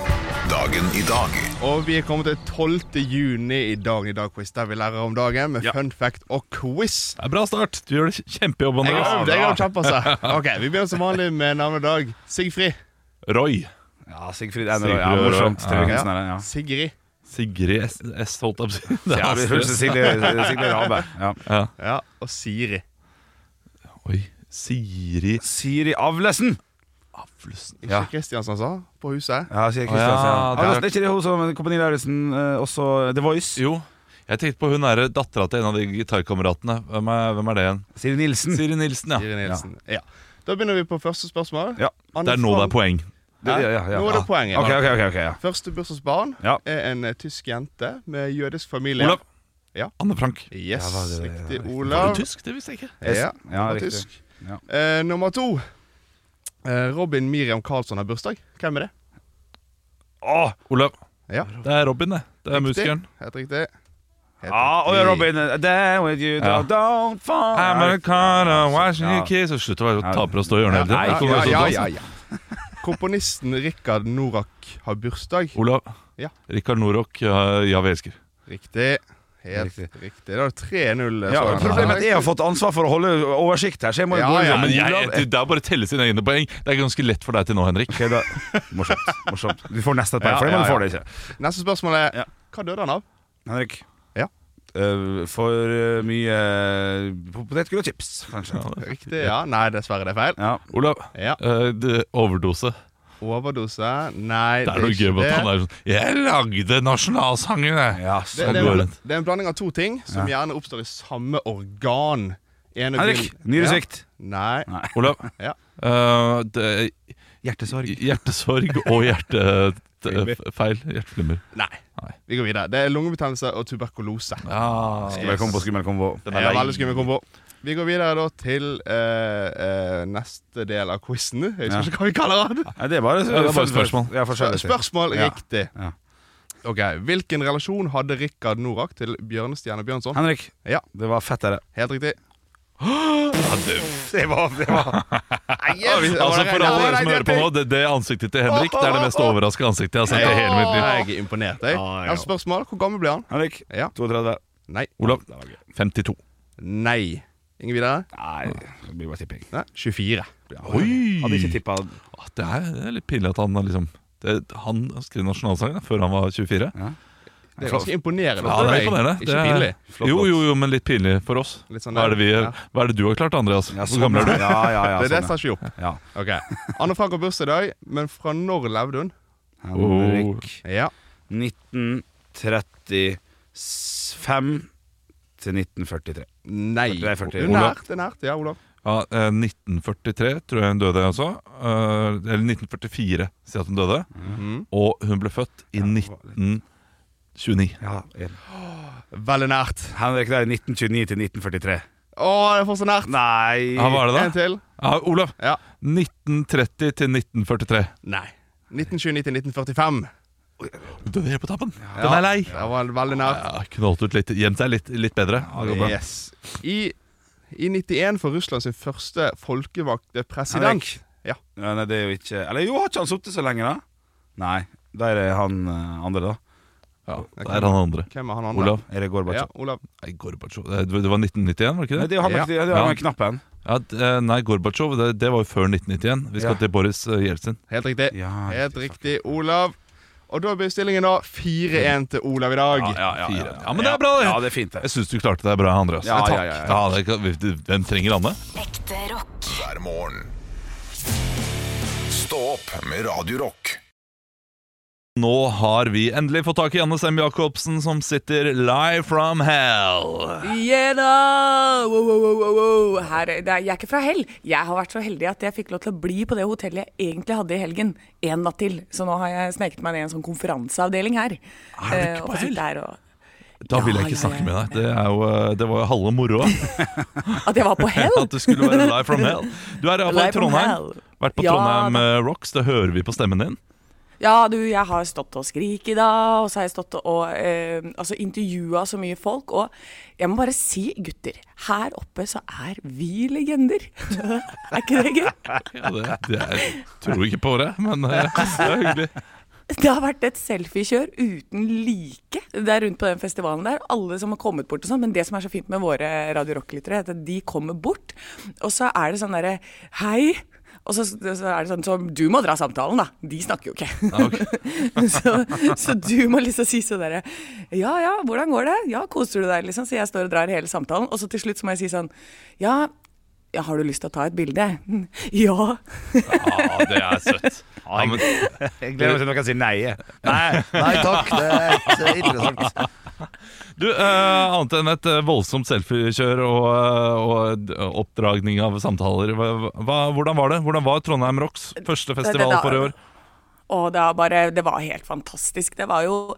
Dagen i dag
Og vi er kommet til 12. juni i Dagen i dag-quiz, der vi lærer om dagen med
Ja.
fun fact og quiz.
Det er bra start. Du gjør det kjempejobb,
Jeg har øvd, jeg har
Andreas.
kjempa seg. Ok, Vi begynner som vanlig med navnet Dag. Sigfrid.
Roy.
Ja, Sigfrid Enner.
Sigfrid
Ja,
Enner,
morsomt.
ja.
Tøygensen her, sånn ja.
Sigrid.
Sigrid S. S holdt jeg på å si. *laughs* Det er
Ja, vi
Astrid
hørte
S.
Sigrid eh,
*laughs*
Sigrid Rabe. Ja.
Ja.
Ja, og Siri.
Oi. Siri
Siri Avlesen!
Aflesen.
Ikke
Ja.
Kristiansen, sa? På huset.
Ja, sier
Å,
Kristiansen.
ja,
Ja,
det er-
Avlesen, er ikke det hun som Kompani Lauritzen eh, også The Voice?
Jo. Jeg tenkte på hun er dattera til en av de gitarkameratene. Hvem, er- hvem er det
*laughs*
igjen?
Siri Nilsen.
Siri Nilsen, ja.
Siri Nilsen. Ja. Da begynner vi på første spørsmål.
Ja.
Anne
Det er nå det er
Frank-
poeng.
Det- ja, ja, ja.
Nå er det
Ja.
poenget.
Ok, ok, ok, ok, ja.
Første bursdagsbarn
Ja.
er en eh, tysk jente med jødisk familie.
Olav.
Ja.
Anne Frank.
Yes,
Ja, var det-
riktig.
riktig.
Er
Olav.
du tysk? Det visste jeg ikke.
Ja,
Ja,
var
riktig.
tysk.
Ja.
Eh, nummer to. Eh, Robin Miriam Karlsson har bursdag. Hvem er det?
Åh,
Olav.
Ja,
Det er Robin, det. Det er musikeren.
det- Helt riktig. Helt
ah, og
riktig.
Robin eh, Down with you,
Ja.
don't, don't fall
Americana, Washington
Ja.
Kiss Og slutt å være
Ja.
taper og stå i hjørnet
Ja,
hele tiden.
Ja,
Det
ja, ja,
kommer sånn
ja,
til å danse.
ja. Komponisten Rikard Norak har bursdag.
Olav.
Ja.
Rikard Norok, ja, ja, vi elsker.
Riktig. Helt riktig. Da er det 3-0.
Ja,
så langt.
problemet er at jeg har fått ansvar for å holde oversikt her, så jeg må jo
Ja,
gå
ja,
ja,
Men
men
jeg, det er bare å telle sine egne poeng. Det er ganske lett for deg til nå, Henrik.
da. *laughs* Morsomt. morsomt Du får nesten et poeng
Ja,
for det,
ja,
men du
ja.
får det ikke.
Neste spørsmål er
Ja.
hva
*laughs*
døde han av?
Henrik.
Ja.
Eh, for eh, mye eh, potetgull og chips, kanskje.
Riktig, ja. Nei, dessverre, det er feil.
Ja.
Olav,
Ja.
eh, det- overdose.
Overdose. Nei,
Det er noe gøy med at han er sånn Jeg lagde nasjonalsangen, jeg!
ja
det,
så.
Han
det,
Sånn går
er,
rundt.
det er en blanding av to ting som gjerne oppstår i samme organ. Ene
Henrik,
begyn-
nyresvikt.
Ja. Nei.
Olav.
Ja.
eh, det,
Hjertesorg.
hjertesorg og hjertefeil. Hjerteflimmer.
Nei.
Nei.
Vi går videre. Det er lungebetennelse og tuberkulose.
Ja.
Velkommen på Skummel kombo.
Den
Det
er
er
lei.
veldig skummel kombo. Vi går videre da til eh, eh, neste del av quizen. Jeg
Ja.
husker ikke hva vi kaller den.
Nei, det er bare
Ja, det er bare spørsmål.
Ja, forskjellig.
Spørsmål
Ja.
riktig.
Ja.
Ok, Hvilken relasjon hadde Rikard Norak til Bjørnestjerne Bjørnson?
Henrik,
Ja.
det var fettere.
Helt riktig.
Det var, det
*laughs*
var.
Altså For alle dere som hører på nå, det, det ansiktet til Henrik Det er det mest overraskende ansiktet jeg har sett i hele mitt liv.
Jeg er imponert. Jeg. Jeg har spørsmål. Hvor gammel ble han?
Henrik,
Ja.
32.
Nei.
Olav, 52.
Nei. Ingen videre?
Nei, det blir bare tipping.
Nei. 24.
Hadde ikke
Oi!
tippa
Ah, Det er, det er litt pinlig at han har liksom det, Han skrev nasjonalsangen før han var 24.
Det er ganske imponerende.
Ja, det er imponerende. Det
Ikke
er-
pinlig.
Jo, jo, jo, men litt pinlig for oss.
Litt sånn
Hva er det, vi,
der, ja.
hva er det du har klart, Andreas?
ja,
Hvor gammel er du?
Ja, ja, ja,
Det er det
sånn,
som ikke opp.
ja.
Ok. Anne Frank har bursdag i dag, men fra når levde hun?
Henrik
Ja.
1935 til 1943.
Nei.
Det
Det
er 40.
er nært. Det er nært. Ja, Olav.
Ja, eh, 1943 tror jeg hun døde også. Eh, Eller 1944 sier at hun døde.
Mhm.
Og hun ble født i 1929.
Ja,
Veldig nært.
Henrik, det er 1929 til 1943.
Å, det er fortsatt nært.
Nei
Ja, hva er det
En
da?
til.
Ja, Olav.
Ja.
1930 til 1943.
Nei. 1929 til 1945.
Hun døde helt på tappen. Den er lei.
Det var veldig nært.
Ja, Knalt ut litt. Gjemt seg litt, litt bedre. Det går bra.
Yes. I, I 91 får Russland sin første folkevalgte president.
Henrik.
Ja.
Ja, nei, det er jo ikke Eller jo, har ikke han sittet så lenge, da? Nei. Da er det han eh, andre, da.
Ja, der er han andre.
Hvem er han andre?
Olav.
Er det
Ja,
Gorbatsjov?
Olav.
Nei, Gorbatsjov Det det var 1991, var det
Nei,
ikke det?
det er jo han med, det er jo han med
Ja.
knappen.
Ja, d- eh, nei, Gorbatsjov det, det var jo før 1991. Vi skal
Ja.
til Boris eh, Jeltsin.
Helt riktig.
Ja,
Helt riktig, Olav. Og da blir stillingen da 4-1 til Olav i dag.
Fire. Ja, men det er bra, det.
Ja, det er fint, det.
Jeg syns du klarte deg bra, Andreas. Eh,
Ja,
takk.
ja, ja,
Ja, det kan, vi- du- hvem trenger Anne?
Ekte rock.
hver morgen. Stå opp med Radio Rock.
Nå har vi endelig fått tak i Anne Sem Jacobsen, som sitter live from hell.
Yeah da! Wow, wow, wow, wow, wow. Her, er- det er, jeg er ikke fra hell. Jeg har vært så heldig at jeg fikk lov til å bli på det hotellet jeg egentlig hadde i helgen. En natt til. Så nå har jeg sneket meg ned i en sånn konferanseavdeling her. Eh,
Er du ikke på
og får sitte her og,
Da vil jeg
Ja,
ikke
ja,
snakke
ja.
med deg. Det, er jo, eh, det var jo halve
*laughs*
moroa *laughs*
at jeg var på hell?
at du skulle være live from hell. Du er iallfall i
Live from
Trondheim.
hell.
Vært på
Ja,
Trondheim
da.
eh, Rocks, det hører vi på stemmen din.
Ja, du, jeg har stått og skriket i dag, og så har jeg stått og eh, altså intervjua så mye folk. Og jeg må bare si, gutter, her oppe så er vi legender. *laughs* er ikke det gøy?
Ja, det, det er, jeg tror ikke på det, men *laughs* eh, det er hyggelig.
Det har vært et selfiekjør uten like der rundt på den festivalen der. Alle som har kommet bort og sånn. Men det som er så fint med våre Radio Rock-lyttere, er at de kommer bort, og så er det sånn derre Hei. Og så, så er det sånn som Du må dra samtalen, da. De snakker jo ikke. *laughs* så, så du må liksom si sånn derre Ja ja, hvordan går det? Ja, koser du deg? Liksom. Så jeg står og drar hele samtalen. Og så til slutt så må jeg si sånn Ja, ja, har du lyst til å ta et bilde? *laughs* Ja.
Ja, det er søtt. Ja, men,
Jeg gleder meg til noen sier nei. jeg.
Nei,
*laughs*
nei takk. Det er ikke interessant.
du, eh, annet enn et eh, voldsomt selfiekjør og, eh, og d- oppdragning av samtaler, hva, hva- hvordan var det? Hvordan var Trondheim Rocks første festival
da-
for i år?
Og det, er bare, det var helt fantastisk. Det var jo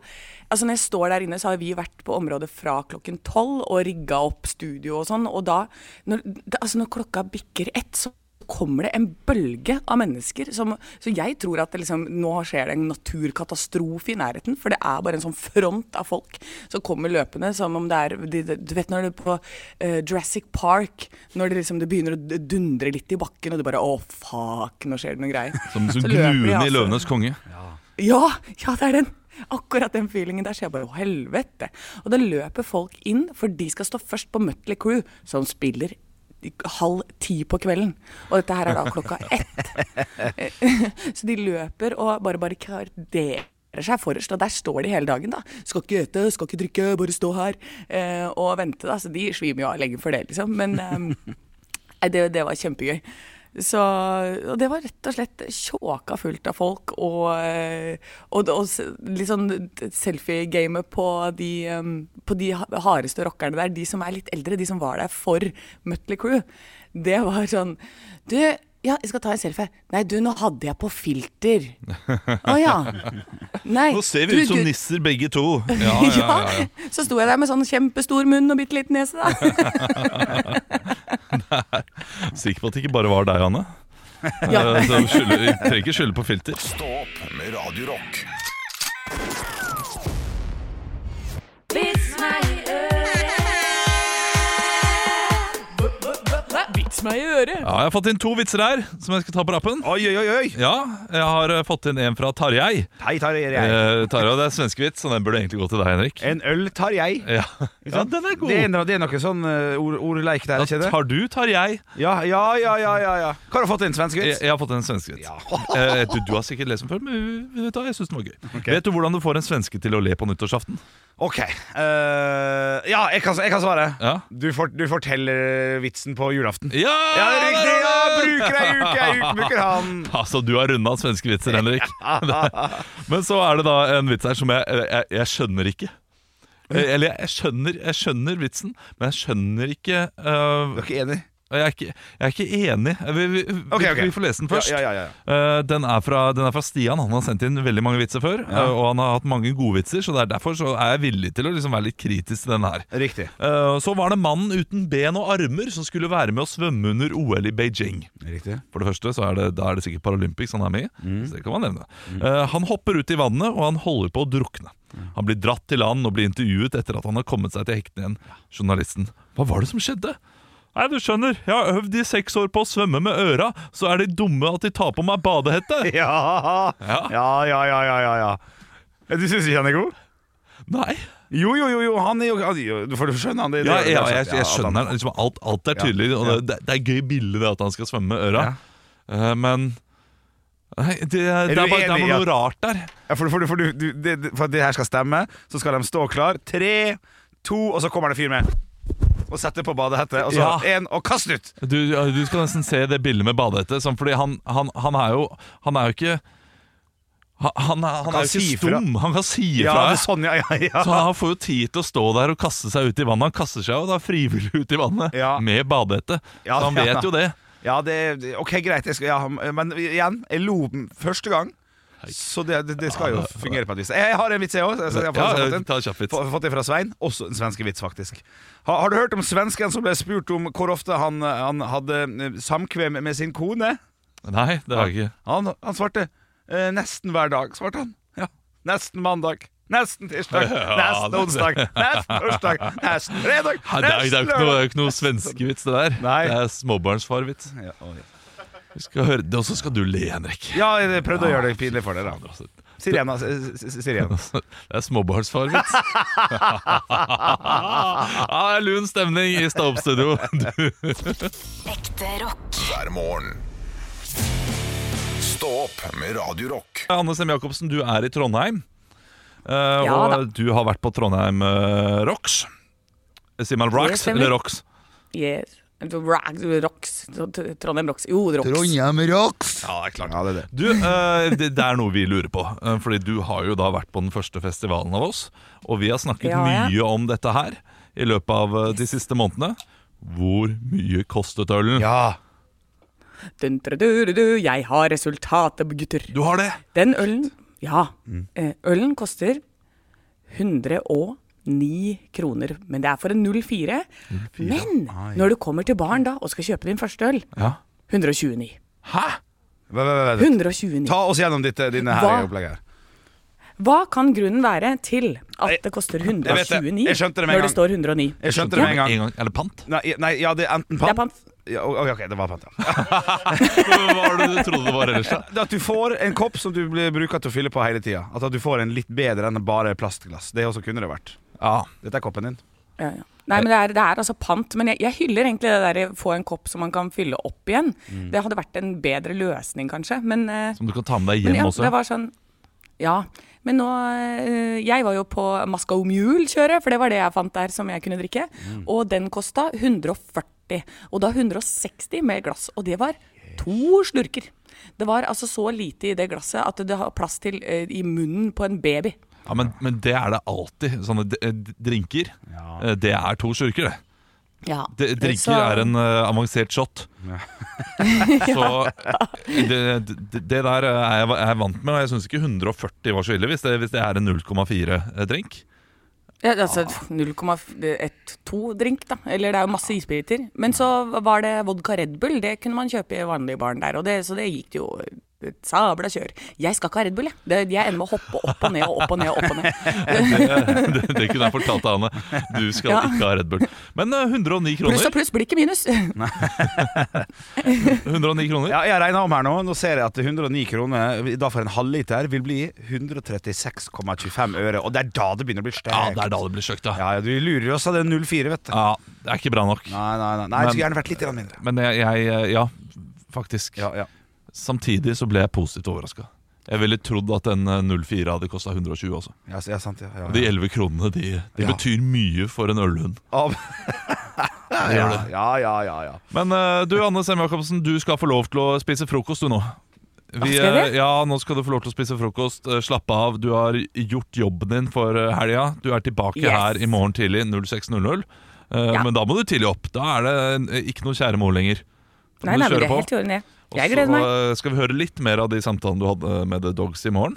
Altså Når jeg står der inne, så har vi vært på området fra klokken tolv og rigga opp studio og sånn. Og da når, da- Altså når klokka bikker ett, så kommer det en bølge av mennesker som Så jeg tror at det liksom, nå skjer det en naturkatastrofe i nærheten, for det er bare en sånn front av folk som kommer løpende som om det er de, de, Du vet når du er på eh, Jurassic Park, når det liksom det begynner å d- dundre litt i bakken, og du bare Å, fuck, nå skjer det noen greier.
Som, som
Så løper de,
gnuen i
altså.
Løvenes konge.
Ja, ja, det er den. Akkurat den feelingen der. Så jeg bare å, helvete. Og da løper folk inn, for de skal stå først på Mutley Crew, som spiller i- halv ti på kvelden. Og dette her er da klokka ett. *laughs* Så de løper og bare barrikaderer seg forrest, og der står de hele dagen, da. Skal ikke ete, skal ikke drikke, bare stå her eh, og vente, da. Så de svimer jo av lenge for det, liksom. Men eh, Nei, det, det var kjempegøy. Så, og det var rett og slett tjåka fullt av folk, og, eh, og, og s- litt sånn selfie-gamet på de, em, på de ha- hardeste rockerne der, de som er litt eldre, de som var der for Mutley Crew, det var sånn Du, ja, jeg skal ta en selfie. Nei, du, nå hadde jeg på
*laughs*
filter. Å ja. Nei.
Nå ser
du,
vi ut som
Gud-
nisser begge to. Ja,
*laughs* Ja,
ja, ja, ja.
Så sto jeg der med sånn kjempestor munn og bitte liten nese, da.
Sikker på at det ikke bare var deg, Anne. Eh, så skylder- vi trenger ikke skylde på filter.
Stå opp med Radio Rock.
*laughs* Vits meg i øret.
Ja, jeg har fått inn to vitser her som jeg skal ta på rappen.
Oi, oi, oi! oi.
Ja, jeg har eh, fått inn en fra Tarjei.
Hei, tar jeg.
Eh, Tarjei, det er svenskevits, så den burde egentlig gå til deg, Henrik.
En øl tar jeg.
Ja, ja den er
Det er,
god.
no- det er noe sånn eh, ord, ordleik der, ikke
Da
det?
tar du Tarjei.
Ja, ja, ja, ja, ja, ja. Hva har du fått inn,
Jeg,
svenskevits?
jeg har fått en svenskevits. Eh, du, du har sikkert lest den før, men vet du, hva, jeg syns den var gøy. Vet du hvordan du får en svenske til å le på nyttårsaften?
Ok. eh, ja, jeg kan, jeg kan svare.
Ja.
Du, fort- du forteller vitsen på julaften.
Ja,
Ja, det er riktig!
det
Ja,
er det!
bruker ei uke, ei uke bruker han.
Altså, du har runda svenskevitser,
*laughs*
Henrik. *laughs* Men så er det da en vits her som jeg, jeg, jeg skjønner ikke. Eh, Eller jeg skjønner, jeg skjønner vitsen, men jeg skjønner ikke eh,
Du er ikke enig?
jeg, er ikke, jeg er ikke enig. Eh, Vi, vi, vi-
Ok, ok.
vi får lese den først.
Ja, ja, ja, ja.
Eh, den, er fra, den er fra Stian. Han har sendt inn veldig mange vitser før. eh, og han har hatt mange gode vitser, så det er derfor så er jeg villig til å liksom være litt kritisk til den her.
Riktig.
Eh, så var det mannen uten ben og armer som skulle være med å svømme under OL i Beijing.
Riktig.
For det første så er det, da er det sikkert Paralympics han er med i.
Mm.
Så det kan man nevne Eh, Han hopper ut i vannet, og han holder på å drukne.
Mm.
Han blir dratt til land og blir intervjuet etter at han har kommet seg til hektene igjen. Journalisten. Hva var det som skjedde? Nei, du skjønner, jeg har øvd i seks år på å svømme med øra, så er de dumme at de tar på meg badehette.
*laughs* Ja, ja,
Ja.
ja, ja, ja, ja, ja. Du syns ikke han er god?
Nei.
Jo, jo, jo, jo, han er jo han, jo, Du får skjønne han det.
Ja, ja,
det- det-
jeg, jeg
at han-
skjønner den. liksom, alt, alt er tydelig, og det, det er gøy bilde det at han skal svømme med øra. Eh, men Nei, det, det, er,
du
bare, det er
enig
bare
i
noe
at-
rart der.
Ja, for, for, for, du- du- det, det- for at det her skal stemme, så skal de stå klar. Tre, to, og så kommer det en fyr med Og setter på badehette. Og så
Ja.
en, og kast ut!
Du, ja, du skal nesten se det bildet med badehette. Sånn, fordi han, han, han er jo Han er jo ikke Han, han er, han
kan
er jo
si
ikke
ifra.
stum. Han kan si
Ja,
ifra.
det er sånn, ja, ja, ja.
så han får jo tid til å stå der og kaste seg ut i vannet. Han kaster seg jo da frivillig ut i vannet
Ja.
med badehette.
Ja,
så han
ja.
vet jo
*laughs*
det.
ja det, det- ok, greit. Jeg skal, ja, men igjen, jeg lo m- første gang. Så det, det, det skal jo fungere på et vis. Jeg har en sånn vits, jeg òg.
Ja, ta en kjapp vits.
Fått det fra Svein. Også en svenske vits, faktisk. Har, har du hørt om svensken som ble spurt om hvor ofte han, han hadde samkvem med sin kone?
Nei, det har jeg ikke.
Han, han svarte eh, nesten hver dag, svarte han. Ja. Nesten mandag. Nesten
*laughs*
tirsdag, nesten
det-
onsdag, nesten torsdag, nesten fredag
Nei, Det er, det er jo ikke noe, det er jo ikke
*laughs*
noe svenskevits, det der.
Nei.
Det er småbarnsfarvits.
Ja, oi.
Vi skal høre det, og så skal du le, Henrik.
ja, jeg
Ah.
prøvde å gjøre det pinlig for deg, da. Sirena, sirena.
*laughs* Det er småbarnsfarvits. ja, det er lun stemning i Stå-opp-studio. Du-
Ekte rock.
hver morgen. Stå opp med Radio Rock.
Anne Sem Jacobsen, du er i Trondheim. Eh, og
da.
du har vært på Trondheim eh, Rocks. Sier man
Det
Rocks
stemmer.
eller Rocks?
Yes. Rock- Rocks. Trondheim Rocks. Jo, Rocks.
Trondheim Rocks!
Ja, det er klart.
Ja, det er det.
Du, eh, det, det er noe vi lurer på. Eh, Fordi du har jo da vært på den første festivalen av oss. Og vi har snakket
Ja, ja.
mye om dette her i løpet av eh, de siste månedene. Hvor mye kostet ølen?
Ja.
Dun, dun, dun, dun, jeg har resultatet, gutter.
Du har det?
Den ølen Ja.
Mm.
eh, Ølen koster 109 kroner, men det er for en 04. Men når du kommer til baren da og skal kjøpe din første øl, 129.
Vent, vent, vent.
129.
Ta oss gjennom ditt, eh, dine her
Hva?
opplegg her.
Hva kan grunnen være til at det koster
vet det.
129
Jeg skjønte det med en
når det står 109?
Jeg skjønte det med en gang.
Er det pant?
Nei, nei, ja, det er enten
Det er
pant
pant.
Ja, ok, ok, det var pant, ja.
Hva var det du trodde det var ellers? da?
At du får en kopp som du blir- bruker til å fylle på hele tida. At du får en litt bedre enn bare plastglass. Det også kunne det vært.
Ja.
Dette er koppen din.
Ja, ja. Nei, men det er, det er altså pant. Men jeg, jeg hyller egentlig det der få en kopp som man kan fylle opp igjen. Det hadde vært en bedre løsning, kanskje. Men, eh,
Mm. Som du kan ta med deg
men
hjem
ja,
også.
det var sånn Ja. Men nå eh, Jeg var jo på Moscow Mule-kjøret, for det var det jeg fant der som jeg kunne drikke.
Mm.
Og den kosta 140. Og da 160 med glass. Og det var to slurker. Det var altså så lite i det glasset at det har plass til eh, i munnen på en baby.
Ja, men, men det er det alltid. Sånne d- eh, d- drinker, eh, det er to slurker, det.
Ja.
D drinker
Så-
er en eh, avansert shot.
*laughs*
så eh, det, det, det der er jeg, er jeg vant med, og jeg syns ikke 140 var så ille hvis det, hvis det er en 0,4-drink.
Ja, altså 0,12 drink, da. Eller det er jo masse isbiter. Men så var det vodka Red Bull. Det kunne man kjøpe i vanlige baren der, og det, så det gikk jo et sabla kjør. Jeg skal ikke ha Red Bull, jeg. Det, jeg ender med å hoppe opp og ned og opp og ned og
*laughs*
opp og ned.
*laughs* det, det kunne jeg fortalt deg, Anne. Du skal
Ja.
ikke ha Red Bull. Men eh, 109
Pluss og
kroner.
pluss blir ikke minus.
109 kroner.
Ja, jeg regner om her nå. Nå ser jeg at 109 kroner da for en halvliter vil bli 136,25 øre. Og det er da det begynner å bli sterkt.
Ja, det er da det blir kjøkt, da.
Ja, ja, du lurer oss av den 04, vet du.
Ja, det er ikke bra nok.
Nei, nei, nei. nei det skulle gjerne vært litt grann mindre.
Men jeg, jeg Ja, faktisk.
Ja, ja.
Samtidig så ble jeg positivt overraska. Jeg ville trodd at den eh, 04 hadde kosta 120 også.
Ja, s- ja sant, ja. ja,
De
ja.
11 kronene de, de
Ja.
betyr mye for en ølhund.
Av-
Det gjør det.
ja, ja, ja, ja, ja.
Men eh, du, Anne Sem Jacobsen, du skal få lov til å spise frokost du nå. Vi,
skal jeg det?
eh, ja, nå skal du få lov til å spise frokost. Eh, Slappe av. Du har gjort jobben din for eh, helga. Du er tilbake
Yes.
her i morgen tidlig 06.00. Eh,
Ja.
Men da må du tidlig opp. Da er det eh, ikke noe kjære mor lenger. Da må
Nei,
du
nei, men
kjøre
det er
på.
helt i orden, det.
Og
Jeg
så,
gleder meg.
eh, skal vi høre litt mer av de samtalene du hadde med The Dogs i morgen.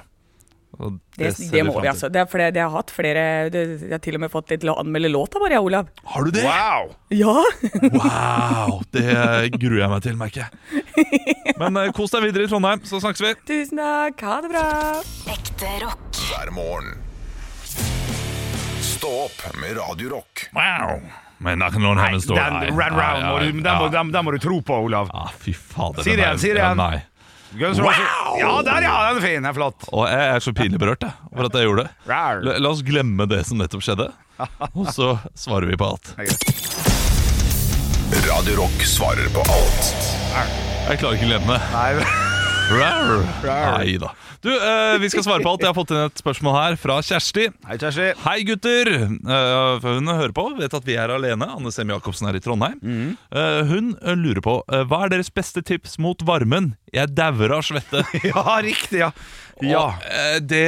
Og
Det,
ser
det må
fram
vi,
til.
altså. Det er fordi jeg har hatt flere det, Jeg har til og med fått litt til å anmelde låt av Maria Olav.
Har du det?
Wow!
Ja!
*laughs* Wow, det gruer jeg meg til, merker jeg.
*laughs*
Men eh, kos deg videre i Trondheim, så snakkes vi.
*laughs* Tusen takk. Ha det bra.
Ekte rock.
hver morgen. Stå opp med Radio Rock.
Wow. Men da kan noen heve en stål.
Den red round må du, den, må, den, den må du tro på, Olav.
Ja, Ah, fy fader.
Si det
den
igjen,
er-
si det
ja,
igjen.
Nei.
Guns N' Roses- Ja, der, ja! Den er fin. Den er flott.
Og jeg er så pinlig berørt jeg, over at jeg gjorde det.
Rar.
La, la oss glemme det som nettopp
*laughs*
skjedde, og så svarer vi på alt.
Radio Rock svarer på alt.
Jeg klarer ikke å glemme det.
Nei,
Rar. Nei da. Du, eh, vi skal svare på alt. Jeg har fått inn et spørsmål her fra Kjersti.
Hei, Kjersti.
Hei gutter! Eh, for hun hører på, vet at vi er alene. Anne Sem Jacobsen er i Trondheim.
Mm.
Eh, hun eh, lurer på eh, hva er deres beste tips mot varmen. Jeg dauer av svette.
*laughs* Ja, riktig, ja. *laughs* Ja.
Og, eh, det,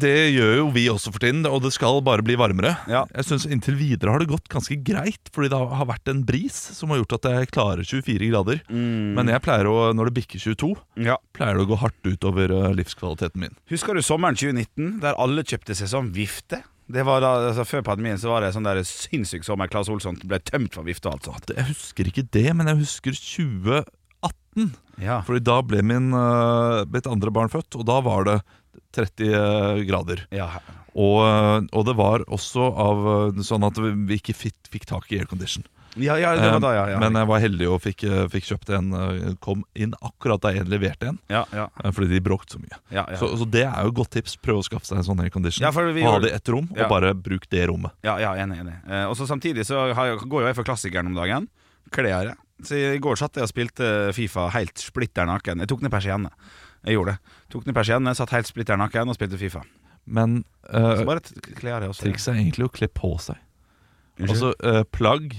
det gjør jo vi også for tiden, og det skal bare bli varmere.
Ja.
Jeg synes Inntil videre har det gått ganske greit, fordi det har vært en bris som har gjort at jeg klarer 24 grader.
Mm.
Men jeg pleier å, når det bikker 22,
ja.
pleier det å gå hardt utover eh, livskvaliteten min.
Husker du sommeren 2019, der alle kjøpte seg sånn vifte? Det var da, altså Før pandemien så var det sånn der sinnssyk altså. sommer. Claes Olsson ble tømt for vifte og alt sånt.
Jeg husker ikke det, men jeg husker 2018. 19.
Ja.
Fordi da ble min, eh, mitt andre barn født, og da var det 30 grader.
ja.
Og, eh, og det var også av eh, sånn at vi vi ikke fikk, fikk tak i aircondition. Eh,
Ja, ja, det var da, ja. ja.
Um, Men jeg var heldig og fikk, eh, fikk kjøpt en. eh, Kom inn akkurat da jeg leverte en,
ja, ja,
eh, fordi de bråkte så mye.
ja, ja.
Så, så det er jo et godt tips. Prøv å skaffe seg en sånn aircondition.
Ja, for vi
ha
gjorde-
det i ett rom,
Ja.
og bare bruk det rommet.
ja, ja enig, enig. Eh, og så samtidig så har, jeg- går jo jeg for klassikeren om dagen. Klær. Så i går satt jeg og spilte eh, Fifa helt splitter naken. Jeg tok ned persiennene. Jeg gjorde det. Tok ned persiennene, satt helt splitter naken og spilte Fifa.
Men eh,
Så bare t- klær jeg også.
trikset er egentlig å kle på seg.
Unnskyld?
Altså eh, plagg,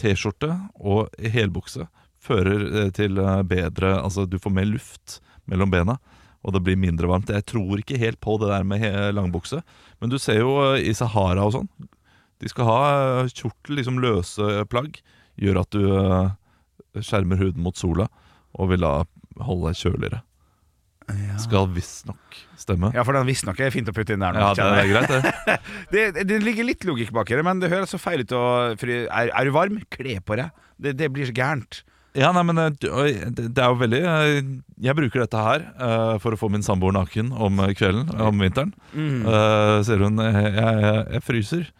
T-skjorte og helbukse fører eh, til eh, bedre Altså du får mer luft mellom bena, og det blir mindre varmt. Jeg tror ikke helt på det der med he- langbukse, men du ser jo eh, i Sahara og sånn. De skal ha eh, kjortel, liksom løse eh, plagg. Gjør at du eh, skjermer huden mot sola og vil da holde deg kjøligere. Skal visstnok stemme. Ja,
Ja, for den visstnok er fint å putte inn der nå.
det
kjenner
er
jeg.
greit, det.
Det, det ligger litt logikk bak i det, men det høres så feil ut. å- for er, er du varm, kle på deg. Det, det blir så gærent.
Ja, nei, men eh, du- oi, det det er jo veldig eh, Jeg bruker dette her eh, for å få min samboer naken om eh, kvelden, om vinteren. Eh, Ser hun eh, jeg, jeg, jeg fryser.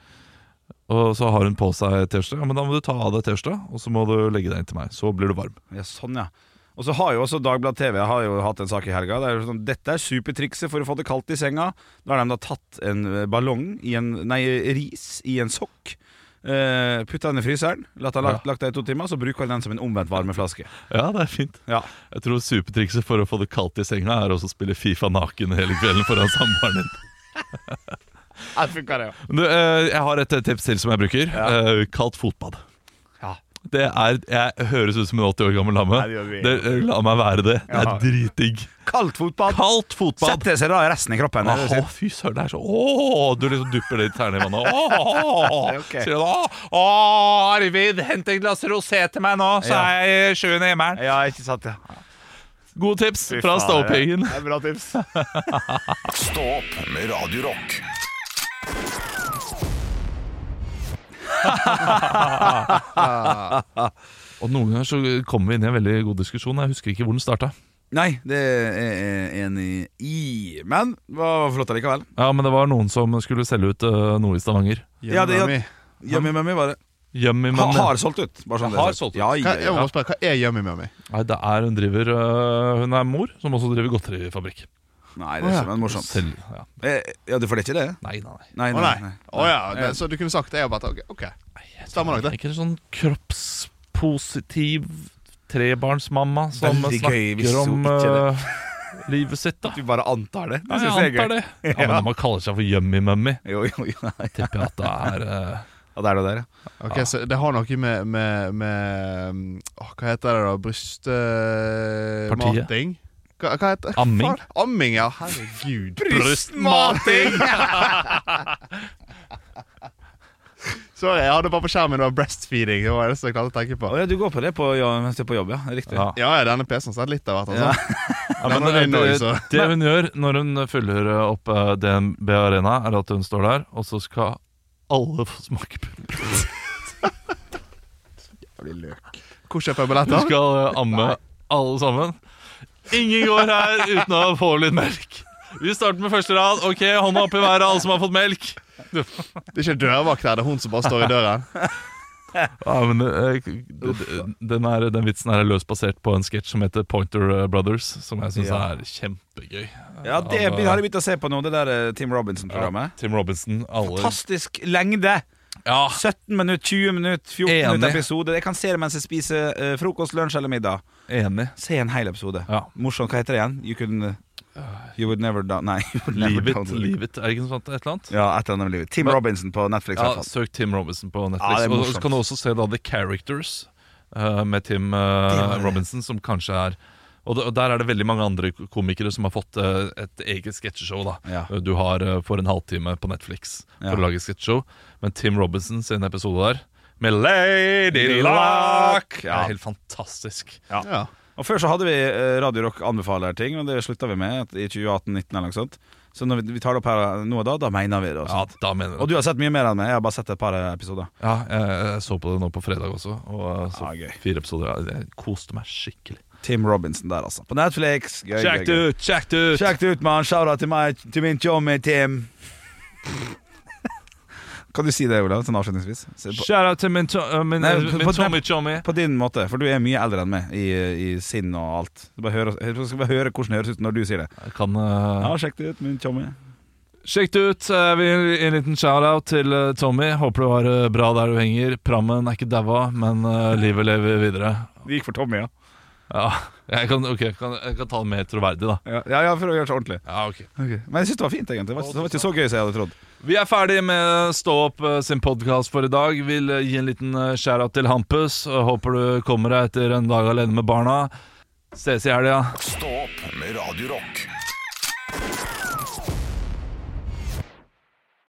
Og så har hun på seg T-skjorte. Ja, men da må du ta av deg T-skjorta, og så må du legge deg inn til meg. Så blir du varm.
Ja, sånn, ja. Og så har jo også Dagbladet TV har jo hatt en sak i helga. Det er jo sånn, Dette er supertrikset for å få det kaldt i senga. Da har de da tatt en eh, ballong i en Nei, ris i en sokk. Uh, Putta den i fryseren, latt den lagt, lagt den i to timer, så bruker den som en omvendt varmeflaske.
Ja, det er fint.
Ja.
Jeg tror supertrikset for å få det kaldt i senga er også å spille Fifa naken hele kvelden foran samboeren din.
Jeg funka det, ja.
Du, eh, jeg har et eh, tips til som jeg bruker. Eh, kaldt fotbad.
Ja.
Det er, jeg høres ut som en 80 år gammel lamme.
det gjør vi.
Det, eh, la meg være det. Det er
Ja.
dritdigg.
Kaldt fotball!
Kaldt fotbad!
Setter seg da i resten i kroppen. er det
Åh,
det du sier?
fy søren, det er så Åh, Du liksom dupper litt tærne i vannet.
*laughs*
Åh,
Ok.
Sier du da Åh, Arvid, hent et glass rosé til meg nå, så
Ja.
er jeg i sjuende himmelen.
Ja, ikke sant, ja.
Gode tips
Fy
fra
faen,
Ståpiggen.
Det er bra tips.
Stå opp med Radio Rock.
Og noen ganger så kommer vi inn i en veldig god diskusjon. Jeg husker ikke hvor den starta.
Nei, det er jeg enig i. Men det var flott allikevel.
Ja, men det var noen som skulle selge ut øh, noe i Stavanger.
Ja, det-
Yummy.
Yummy Mummy var det.
Yummy
Ha,
Mummy.
har solgt ut. Bare sånn det
eh,
er
Har
sagt.
solgt ut.
Ja,
Hva,
ja,
jeg
ja.
må spørre, hva er Yummy Mummy?
Nei, det er hun driver øh, Hun er mor, som også driver godterifabrikk.
Nei, det er ikke men morsomt.
Selv, ja.
Eh, Ja, du får det ikke det?
Nei, nei, nei.
Nei,
Å
nei,
nei.
nei.
Å ja. Det, så du kunne sagt det? Jeg bare tar- OK. ok. Stemmer nok,
Det er
det.
ikke en sånn kroppspositiv trebarnsmamma som
Veldig gøy hvis
snakker
hun
om
ikke det.
eh, livet sitt,
*laughs*
da.
Du bare antar det?
Nei, jeg antar det. Ja, men Når man kaller seg for yummy-mummy,
Jo, jo, jo, nei.
tipper jeg at det er eh,
Ja, det er det der, ja.
Ok, Så det har noe med, med, med mm, åh, Hva heter det, da?
Partiet.
Brystmating? Hva, hva heter hva
Amming.
faen? Amming, ja. Herregud.
Brystmating!
*laughs* Sorry, jeg hadde bare på skjermen det var breastfeeding. Det var det eneste jeg klarte å tenke på.
Å, ja du går på det på, ja, mens du er på jobb, ja. Riktig.
Ja.
Ja, ja, denne PC-en har sett litt av hvert.
Ja.
Altså. *laughs*
Ja, men eh,
Den er
det,
inne
det,
også.
det hun gjør når hun fyller opp eh, DNB Arena, er at hun står der, og så skal alle få smake på Hun
Hvor kjøper jeg billetter?
skal eh, amme alle sammen. Ingen går her uten å få litt melk. Vi starter med første rad. Ok, Hånda opp i været, alle som har fått melk.
Det er ikke dørvakt her, det er hun som bare står i døren.
Ja, men eh, k- d- d- den, er, den vitsen her er løst basert på en sketsj som heter Pointer eh, Brothers, som jeg syns
Ja.
er kjempegøy.
Ja, det
Ja,
be- har jeg begynt å se på nå, det der eh, Tim Robinson-programmet.
Tim Robinson. Alle
Fantastisk lengde!
Ja,
17 minutter, 20 minutter, 14
Enig.
minutter episode. Jeg kan se det mens jeg spiser eh, frokost, lunsj eller middag.
enig.
Se en hel episode.
Ja.
Morsomt. Hva heter det igjen? You couldn't You would never do... Nei. *laughs* you would never
Leave it,
do-
leave it, er det ikke noe sånt? Et eller annet?
Ja, et eller annet med livet. Tim
Men-
Robinson på Netflix. i hvert
Ja,
fall.
Søk Tim Robinson på
Ja,
Netflix.
det er
og
morsomt.
så kan du også se da The Characters eh, med Tim eh,
var det.
Robinson, som kanskje er og d- og Der er det veldig mange andre komikere som har fått eh, et eget sketsjeshow. da
Ja.
Du har eh, for en halvtime på Netflix for
Ja.
å lage sketsjeshow. Men Tim Robinson sin episode der med Lady Luck! Det
Ja.
er helt fantastisk.
Ja.
Og Før så hadde vi eh, Radio Rock anbefaler ting, men det slutta vi med at i 2018-19 eller noe sånt. Så når vi- vi tar det opp her eh, nå og da, da mener vi det. Og,
Ja,
sånt.
da mener
og
jeg det.
du har sett mye mer enn meg. Jeg har bare sett et par episoder.
Ja, jeg, jeg så på det nå på fredag også, og eh, så
Ja, gøy.
fire episoder. Ja, Jeg koste meg skikkelig.
Tim Robinson der, altså. På Netflix. Gøy,
Sjekk det
gøy, gøy.
ut! Sjekk det ut!
Sjekk det ut, mann. Shout-out til meg, til min chommy, Tim. Kan du si det, Olav, sånn avslutningsvis? Se På,
Shout out til min, to uh, min,
Nei,
min
på- på-
Tommy Chommy.
på din måte, for du er mye eldre enn meg i, i sinn og alt. Du bare hører, jeg skal bare høre hvordan det høres ut når du sier det.
Jeg Kan uh,
Ja, sjekk det ut, min chommy.
Sjekk det ut. Jeg vil gi en liten shout-out til eh, Tommy. Håper det var eh, bra der du henger. Prammen er ikke daua, men eh, livet lever videre.
Det gikk for Tommy, ja.
Ja, jeg kan, ok, jeg kan, jeg kan ta det mer troverdig, da.
Ja, ja, ja, for å gjøre det ordentlig.
Ja, ok
Men jeg syns det var fint, egentlig. Det var, det var ikke så gøy som jeg hadde trodd.
Vi er ferdig med Stå opp eh, sin podkast for i dag. Vil eh, gi en liten eh, shout-out til Hampus. Eh, Håper du kommer deg etter en dag alene med barna. Ses i helga.
Stå opp med Radio Rock.